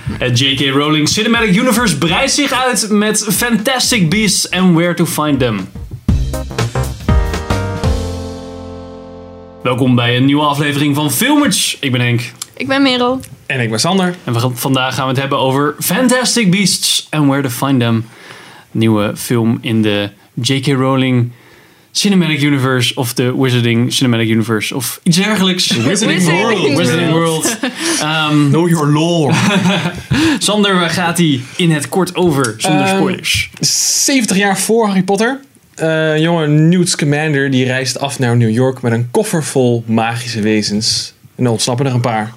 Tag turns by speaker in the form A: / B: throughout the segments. A: Het J.K. Rowling Cinematic Universe breidt zich uit met Fantastic Beasts and Where to Find Them. Welkom bij een nieuwe aflevering van Filmage. Ik ben Henk.
B: Ik ben Merel.
C: En ik ben Sander.
A: En we gaan, vandaag gaan we het hebben over Fantastic Beasts and Where to Find Them. Nieuwe film in de J.K. Rowling Cinematic Universe of de Wizarding Cinematic Universe of iets dergelijks.
C: Wizarding
B: Wizarding
C: World.
A: Wizarding World.
C: Know your lore.
A: Sander, waar gaat hij in het kort over zonder
C: Ehm,
A: spoilers?
C: 70 jaar voor Harry Potter. Eh jongen Newt Scamander die reist af naar New York met een koffer vol magische wezens. En dan ontsnappen er een paar.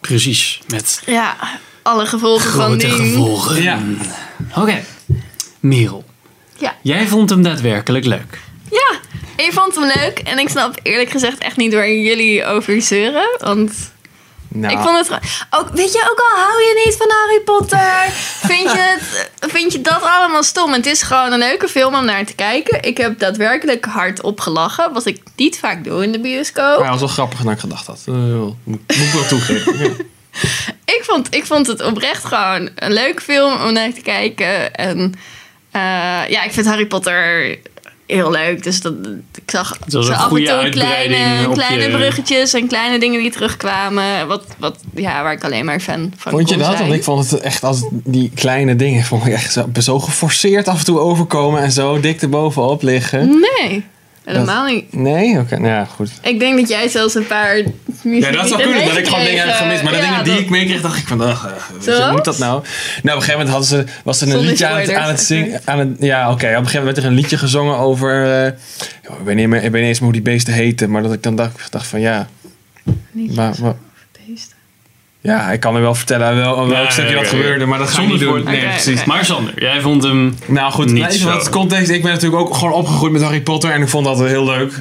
A: Precies, met
B: Ja, alle gevolgen van
A: grote
B: die.
A: gevolgen.
C: Ja.
A: Oké, Merel.
B: Ja.
A: Jij vond hem daadwerkelijk leuk.
B: Ja, ik vond hem leuk. En ik snap eerlijk gezegd echt niet waar jullie over zeuren. Want
C: Nou,
B: ik vond het... gewoon- Ook, weet je, ook al hou je niet van Harry Potter... vind, je het, vind je dat allemaal stom. Het is gewoon een leuke film om naar te kijken. Ik heb daadwerkelijk hardop gelachen. Wat ik niet vaak doe in de bioscoop.
C: maar hij was wel grappiger dan ik gedacht had. Eh, wel, moet, moet ik wel toegeven. Ja.
B: ik vond, ik vond het oprecht gewoon een leuk film om naar te kijken. En eh, ja, ik vind Harry Potter heel leuk. Dus dat, ik zag
A: Het was
B: zo
A: een
B: af en
A: goede
B: toe
A: uitbreiding
B: kleine,
A: op
B: kleine
A: je-
B: bruggetjes en kleine dingen die terugkwamen. Wat, wat, ja, waar ik alleen maar fan van
C: Vond je
B: kon
C: dat?
B: zijn.
C: Want ik vond het echt als die kleine dingen vond ik echt zo, zo geforceerd af en toe overkomen en zo dik erbovenop liggen.
B: Nee, helemaal niet.
C: Nee? Oké, nou ja, goed.
B: Ik denk dat jij zelfs een paar...
C: Ja, dat zou kunnen, dat ik gewoon dingen heb gemist. Maar de dingen die ik meekreeg, dacht ik van, ach, eh, weet je, hoe moet dat nou? Nou, op een gegeven moment hadden ze, was er een
B: Zonder
C: liedje aan het,
B: spoilers,
C: aan het
B: zeg
C: zingen. Aan het, ja, oké, op een gegeven moment werd er een liedje gezongen over, eh, joh, ik, weet niet meer, ik weet niet eens meer hoe die beesten heten. Maar dat ik dan dacht, dacht van, ja, maar, maar- ja, ik kan me wel vertellen wel, welk
A: Ja,
C: stukje
A: ja,
C: dat
A: ja, ja.
C: gebeurde, maar dat ga ik
A: Zonder
C: niet doen.
A: spoilers.
C: Nee,
B: Oké,
C: precies.
B: oké.
A: Maar Sander, jij vond hem
C: Nou goed,
A: Niet
C: even
A: zo.
C: wat context. Ik ben natuurlijk ook gewoon opgegroeid met Harry Potter en ik vond dat heel leuk.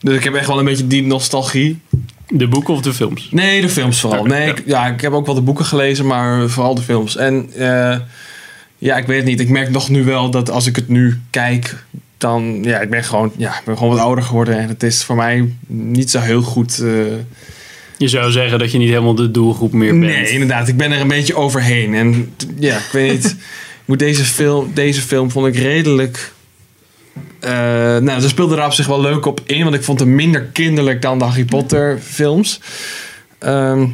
C: Dus ik heb echt wel een beetje die nostalgie.
A: de boeken of de films?
C: Nee, de films vooral.
A: Oké,
C: Nee,
A: ja.
C: ik, ja, ik heb ook wel de boeken gelezen, maar vooral de films. En eh, ja, ik weet het niet. Ik merk nog nu wel dat als ik het nu kijk, dan ja, ik ben gewoon, ja, ik ben gewoon wat ouder geworden en het is voor mij niet zo heel goed. eh,
A: Je zou zeggen dat je niet helemaal de doelgroep meer bent.
C: nee, inderdaad, ik ben er een beetje overheen en t- ja, ik weet niet. Ik moet deze film, deze film vond ik redelijk. eh, nou, ze speelde er op zich wel leuk op in, want ik vond hem minder kinderlijk dan de Harry Potter films. Ehm,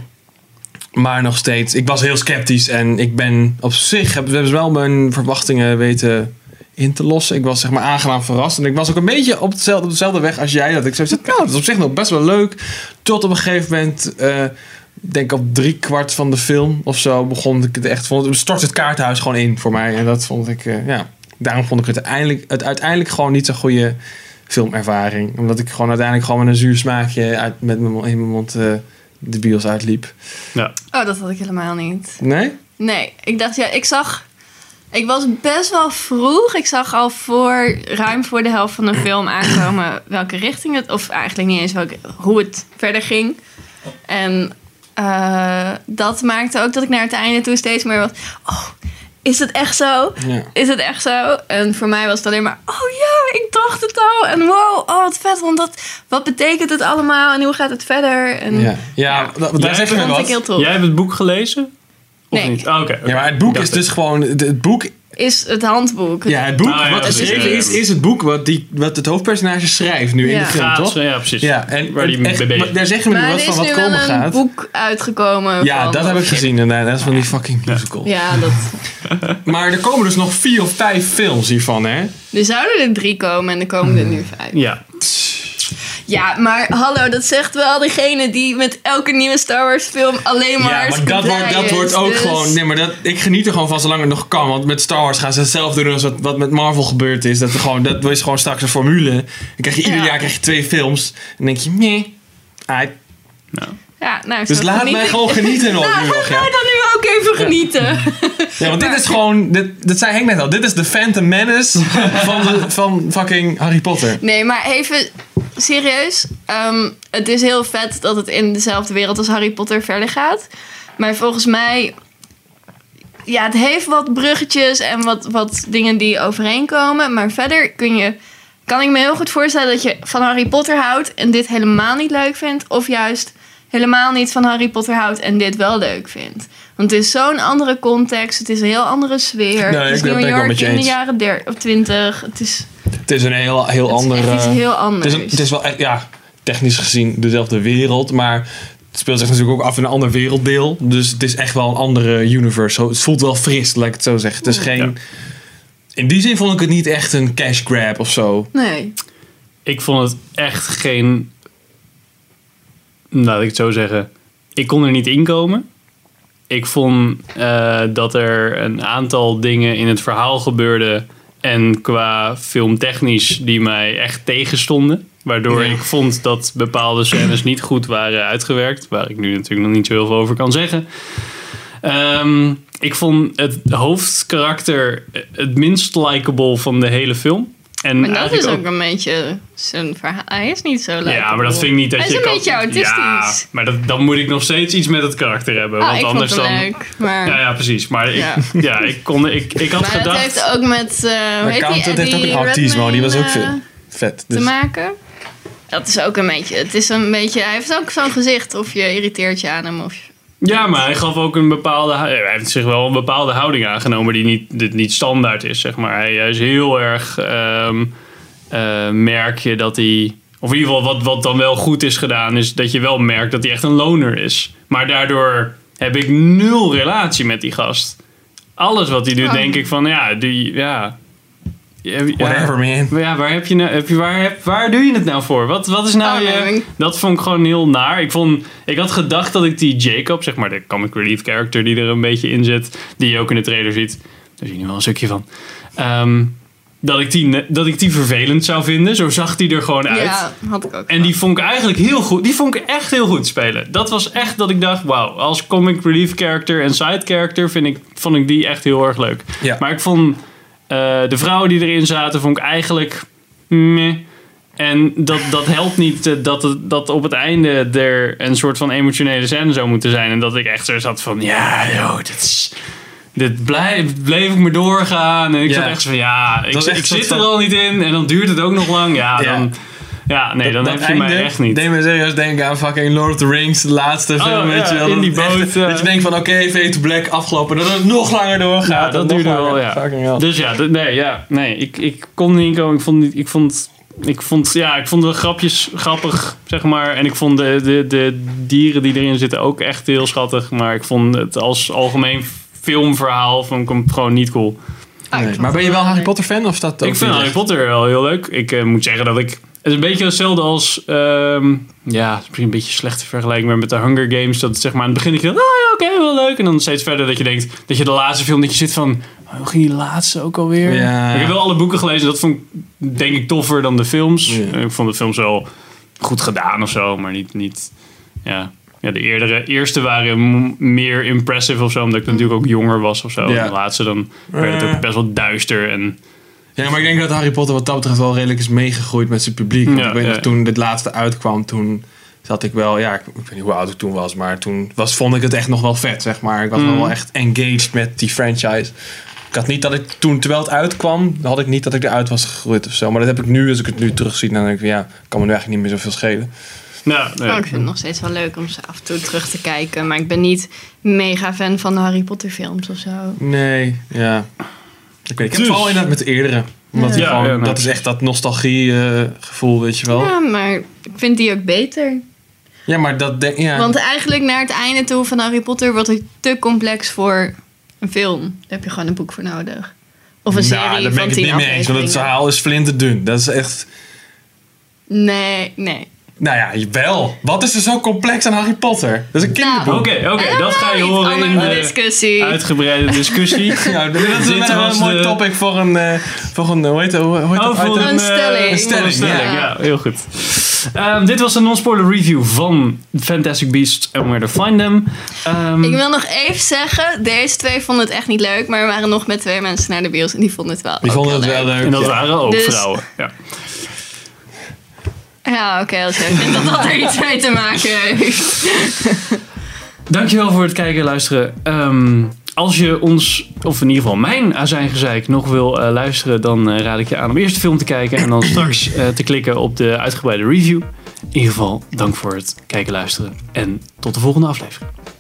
C: maar nog steeds, ik was heel sceptisch en ik ben op zich, heb, hebben ze wel mijn verwachtingen weten in te lossen. Ik was zeg maar aangenaam verrast en ik was ook een beetje op, hetzelfde, op dezelfde weg als jij. Dat ik zo zit, nou, dat is op zich nog best wel leuk. Tot op een gegeven moment, eh, ik denk op drie kwart van de film of zo, begon ik het echt, vond, het- stort het kaarthuis gewoon in voor mij. En dat vond ik, eh, ja, daarom vond ik het uiteindelijk, het uiteindelijk gewoon niet zo'n goede filmervaring. Omdat ik gewoon uiteindelijk gewoon met een zuur smaakje uit, met mijn, mo- in mijn mond eh, de bios uitliep.
A: Ja.
B: Oh, dat had ik helemaal niet.
C: Nee?
B: Nee, ik dacht, ja, ik zag. Ik was best wel vroeg. Ik zag al voor ruim voor de helft van de film aankomen welke richting het. Of eigenlijk niet eens welke, hoe het verder ging. En eh, dat maakte ook dat ik naar het einde toe steeds meer was. Oh, is het echt zo?
C: Ja.
B: Is het echt zo? En voor mij was het alleen maar, oh ja, ik dacht het al. En wow, oh wat vet, want dat, wat betekent het allemaal en hoe gaat het verder? En
C: Ja, ja, da- daar
A: Jij
C: zeg je
B: dat
C: weer
B: vond ik
C: wat.
B: heel tof.
A: Jij hebt het boek gelezen? Of
B: Nee.
A: niet? Ah, oké, oké.
C: Ja, maar het boek
A: Dacht
C: is
A: ik.
C: dus gewoon... Het het boek,
B: Is het handboek.
C: ja, het boek
A: Ah, ja,
C: wat
A: precies,
C: geschreven
A: ja, ja.
C: is, is het boek wat, die, wat het hoofdpersonage schrijft nu in
B: Ja.
C: de film,
A: Gaat,
C: toch?
A: Ja, precies.
C: Ja, en
A: Waar die
C: echt,
A: mee bezig
C: maar daar zeggen we nu
B: Maar
C: wat
B: er is
C: van
B: nu
C: wat
B: wel
C: komen
B: een
C: gaat.
B: boek uitgekomen.
C: Ja,
B: van-
C: dat heb ik gezien inderdaad. Dat is van die fucking
A: Ja.
C: musical.
B: Ja, dat.
C: Maar er komen dus nog vier of vijf films hiervan, hè?
B: Er zouden er drie komen en er komen er nu vijf.
A: Ja.
B: Ja, maar hallo, dat zegt wel degene die met elke nieuwe Star Wars film alleen maar.
C: Ja, maar
B: hartstikke
C: dat wordt,
B: blij
C: dat
B: is.
C: wordt ook
B: Dus-
C: gewoon... Nee, maar dat, ik geniet er gewoon van zolang het nog kan. Want met Star Wars gaan ze hetzelfde doen als wat, wat met Marvel gebeurd is. Dat, er gewoon, dat is gewoon straks een formule. Dan krijg je ieder
B: Ja.
C: jaar krijg je twee films. En dan denk je, nee, ah,
B: Ja, nou,
C: Dus
B: zo
C: laat
B: genieten.
C: mij gewoon genieten nog
B: Nou,
C: nu
B: laat
C: nog, ja.
B: mij dan nu ook even genieten.
C: Ja, want dit is gewoon, dit, dat zei Henk net al, dit is de Phantom Menace van, de, van fucking Harry Potter.
B: Nee, maar even serieus. Ehm, het is heel vet dat het in dezelfde wereld als Harry Potter verder gaat. Maar volgens mij. Ja, het heeft wat bruggetjes en wat, wat dingen die overeenkomen. Maar verder kun je. Kan ik me heel goed voorstellen dat je van Harry Potter houdt en dit helemaal niet leuk vindt. Of juist helemaal niet van Harry Potter houdt en dit wel leuk vindt. Want het is zo'n andere context, het is een heel andere sfeer.
C: Nee,
B: het is
C: ik ben- ben ik wel met je
B: in de
C: eens.
B: jaren der, of twintig. Het is,
C: Het is een heel, heel
B: het is
C: ander.
B: echt iets
C: eh,
B: heel
C: het,
B: anders.
C: is, een- het is wel echt, ja, technisch gezien dezelfde wereld, maar het speelt zich natuurlijk ook af in een ander werelddeel. Dus het is echt wel een andere universe. Zo- Het voelt wel fris, laat ik het zo zeggen. Het is geen.
A: Ja.
C: In die zin vond ik het niet echt een cash grab of zo.
B: Nee.
A: Ik vond het echt geen. Laat ik het zo zeggen. Ik kon er niet inkomen. Ik vond eh, dat er een aantal dingen in het verhaal gebeurden. En qua filmtechnisch die mij echt tegenstonden. Waardoor
C: Ja.
A: ik vond dat bepaalde scènes niet goed waren uitgewerkt. Waar ik nu natuurlijk nog niet zo heel veel over kan zeggen. Ehm, ik vond het hoofdkarakter het minst likable van de hele film. En
B: Maar dat
A: eigenlijk
B: is ook een beetje zijn verhaal. Hij is niet zo leuk.
A: ja, maar dat vind ik niet dat
B: Hij
A: je
B: is een
A: kan-
B: beetje
A: Ja,
B: autistisch.
A: maar dat, dan moet ik nog steeds iets met het karakter hebben.
B: Ah,
A: want
B: ik
A: anders
B: vond hem
A: dan...
B: leuk. Maar,
A: Ja, ja, precies. Maar ik, ja.
B: Ja.
A: ik, kon, ik, ik had
B: maar dat
A: gedacht...
B: heeft ook met. eh hoe heet die,
C: Accountant heeft ook
B: Eddie
C: een autisme, die was ook
B: Redmayne, eh,
C: vet. vet.
B: te
C: Dus-
B: maken. Dat is ook een beetje. Het is een beetje. Hij heeft ook zo'n gezicht. Of je irriteert je aan hem. Of je-
A: Ja, maar hij gaf ook een bepaalde... hou- Hij heeft zich wel een bepaalde houding aangenomen die niet, dit niet standaard is, zeg maar. Hij, hij is heel erg... ehm, eh, merk je dat hij... Of in ieder geval wat, wat dan wel goed is gedaan... is dat je wel merkt dat hij echt een loner is. Maar daardoor heb ik nul relatie met die gast. Alles wat hij doet,
B: Oh.
A: denk ik van... Ja, die, ja... Ja, ja.
C: Whatever, man.
A: Maar ja, waar, heb je nou, heb je, waar, heb- waar doe je het nou voor? Wat, wat is nou
B: Oh, nee,
A: je...
B: ik-
A: Dat vond ik gewoon heel naar. Ik, vond, ik had gedacht dat ik die Jacob, zeg maar de comic relief character die er een beetje in zit... die je ook in de trailer ziet. Daar zie je nu wel een stukje van. Ehm, dat, ik die, ne- dat ik die vervelend zou vinden. Zo zag die er gewoon uit.
B: Ja, had ik ook.
A: En die vond ik eigenlijk heel goed. Die vond ik echt heel goed spelen. Dat was echt dat ik dacht, wauw, als comic relief character en side character vind ik, vond ik die echt heel erg leuk.
C: Ja.
A: Maar ik vond eh, de vrouwen die erin zaten, vond ik eigenlijk meh. En dat, dat helpt niet eh, dat, het, dat op het einde er een soort van emotionele scène zou moeten zijn. En dat ik echt zo zat van, ja, joh, dit is... Dit blijf, bleef ik me doorgaan. En ik
C: Ja.
A: zat echt zo van, ja, ik,
C: Dat is echt
A: ik
C: een
A: zit
C: soort
A: er
C: van-
A: al niet in. En dan duurt het ook nog lang. Ja,
C: Ja.
A: dan... Ja, nee, dan
C: Dat
A: heb je mij
C: einde
A: echt niet.
C: Deed me serieus denken aan fucking Lord of the Rings, de laatste
A: Oh,
C: film, weet
A: ja,
C: je wel.
A: in
C: Dat
A: die
C: het echt-
A: boot, ja.
C: Dat je denkt van, oké, Fade to Black afgelopen. Dat het nog langer doorgaat.
A: Ja,
C: en
A: dat
C: nog
A: duurde
C: langer.
A: wel, ja.
C: Fucking hell.
A: Dus ja, d- nee, ja, nee. Ik, ik kon niet inkomen. Ik vond, niet- ik vond, ik vond, ja, ik vond de grapjes grappig, zeg maar. En ik vond de, de, de dieren die erin zitten ook echt heel schattig. Maar ik vond het als algemeen filmverhaal vond ik hem gewoon niet cool.
B: Ah, ik
C: Nee,
B: vond
C: Maar ben je
B: hem
C: wel Harry
B: leuk.
C: Potter fan of staat ook
A: ik vind
C: niet
A: Harry
C: echt?
A: Potter wel heel leuk. Ik eh, moet zeggen dat ik... Het is een beetje hetzelfde als... ehm, ja, het is misschien een beetje slecht te vergelijken maar met de Hunger Games. Dat het, zeg maar aan het begin dat je denkt, ah ja, oké, wel leuk. En dan steeds verder dat je denkt, dat je de laatste film dat je zit van... oh, Hoe ging die laatste ook alweer?
C: Ja.
A: Ik heb wel alle boeken gelezen. Dat vond ik denk ik toffer dan de films.
C: Ja.
A: Ik vond de films wel goed gedaan of zo, maar niet... niet ja. Ja, de eerdere, eerste waren m- meer impressive of zo, omdat ik natuurlijk ook jonger was of zo.
C: Ja.
A: En de laatste dan werd het
C: Eh.
A: ook best wel duister en
C: Ja, maar ik denk dat Harry Potter wat dat betreft wel redelijk is meegegroeid met zijn publiek. Want
A: Ja,
C: ik weet
A: ja.
C: nog, toen dit laatste uitkwam, toen zat ik wel... Ja, ik, ik weet niet hoe oud ik toen was, maar toen was, vond ik het echt nog wel vet, zeg maar. Ik was
A: Mm.
C: nog wel echt engaged met die franchise. Ik had niet dat ik toen, terwijl het uitkwam, had ik niet dat ik eruit was gegroeid of zo. Maar dat heb ik nu, als ik het nu terugzie, dan denk ik van, ja, kan me nu eigenlijk niet meer zoveel schelen.
A: Nou, nee.
B: Oh, ik vind het nog steeds wel leuk om ze af en toe terug te kijken. Maar ik ben niet mega fan van de Harry Potter films of zo.
C: Nee, ja. Ik weet ik heb
A: Dus.
C: het vooral inderdaad met de eerdere. Omdat die
A: Ja,
C: gewoon-
A: ja, nee.
C: dat is echt dat nostalgie eh, gevoel, weet je wel. Ja,
B: Ja, maar ik vind die ook beter.
C: maar dat denk ja.
B: Want eigenlijk naar het einde toe van Harry Potter wordt het te complex voor een film. Daar heb je gewoon een boek voor nodig. Of een
C: Nou,
B: serie
C: daar ben
B: van
C: ik het
B: tien
C: niet mee eens, want het
B: afleveringen.
C: verhaal is flinterdun. Dat is echt...
B: Nee, nee.
C: Nou ja, wel. Wat is er zo complex aan Harry Potter? Dat is een
B: Nou.
C: kinderboek.
A: Oké, oké, dat ga je
B: Alright,
A: horen in
B: Andere
A: de
B: discussie.
A: uitgebreide discussie.
C: Ja, dat
A: Dit
C: is wel een, eh,
A: was
C: mooi
A: de-
C: topic voor een, eh, voor een, hoe heet dat? Hoe heet dat?
A: Oh, voor
C: item?
A: een,
B: Een
A: eh,
B: stelling.
A: Een
C: Een
A: stelling,
C: stelling,
A: ja. Ja,
B: ja.
A: heel goed. Ehm, dit was een non-spoiler review van Fantastic Beasts and Where to Find Them. Ehm,
B: Ik wil nog even zeggen, deze twee vonden het echt niet leuk. Maar we waren nog met twee mensen naar de bios en die vonden het wel
C: Die
B: ook
C: vonden het wel leuk.
A: en Oh, dat
C: ja.
A: waren ook
B: Dus-
A: vrouwen. Ja.
B: Ja, oké, als jij vindt dat dat er iets mee te maken heeft.
A: Dankjewel voor het kijken en luisteren. Ehm, als je ons, of in ieder geval mijn azijngezeik, nog wil eh, luisteren... dan eh, raad ik je aan om eerst de film te kijken... en dan straks eh, te klikken op de uitgebreide review. In ieder geval, dank voor het kijken, luisteren en tot de volgende aflevering.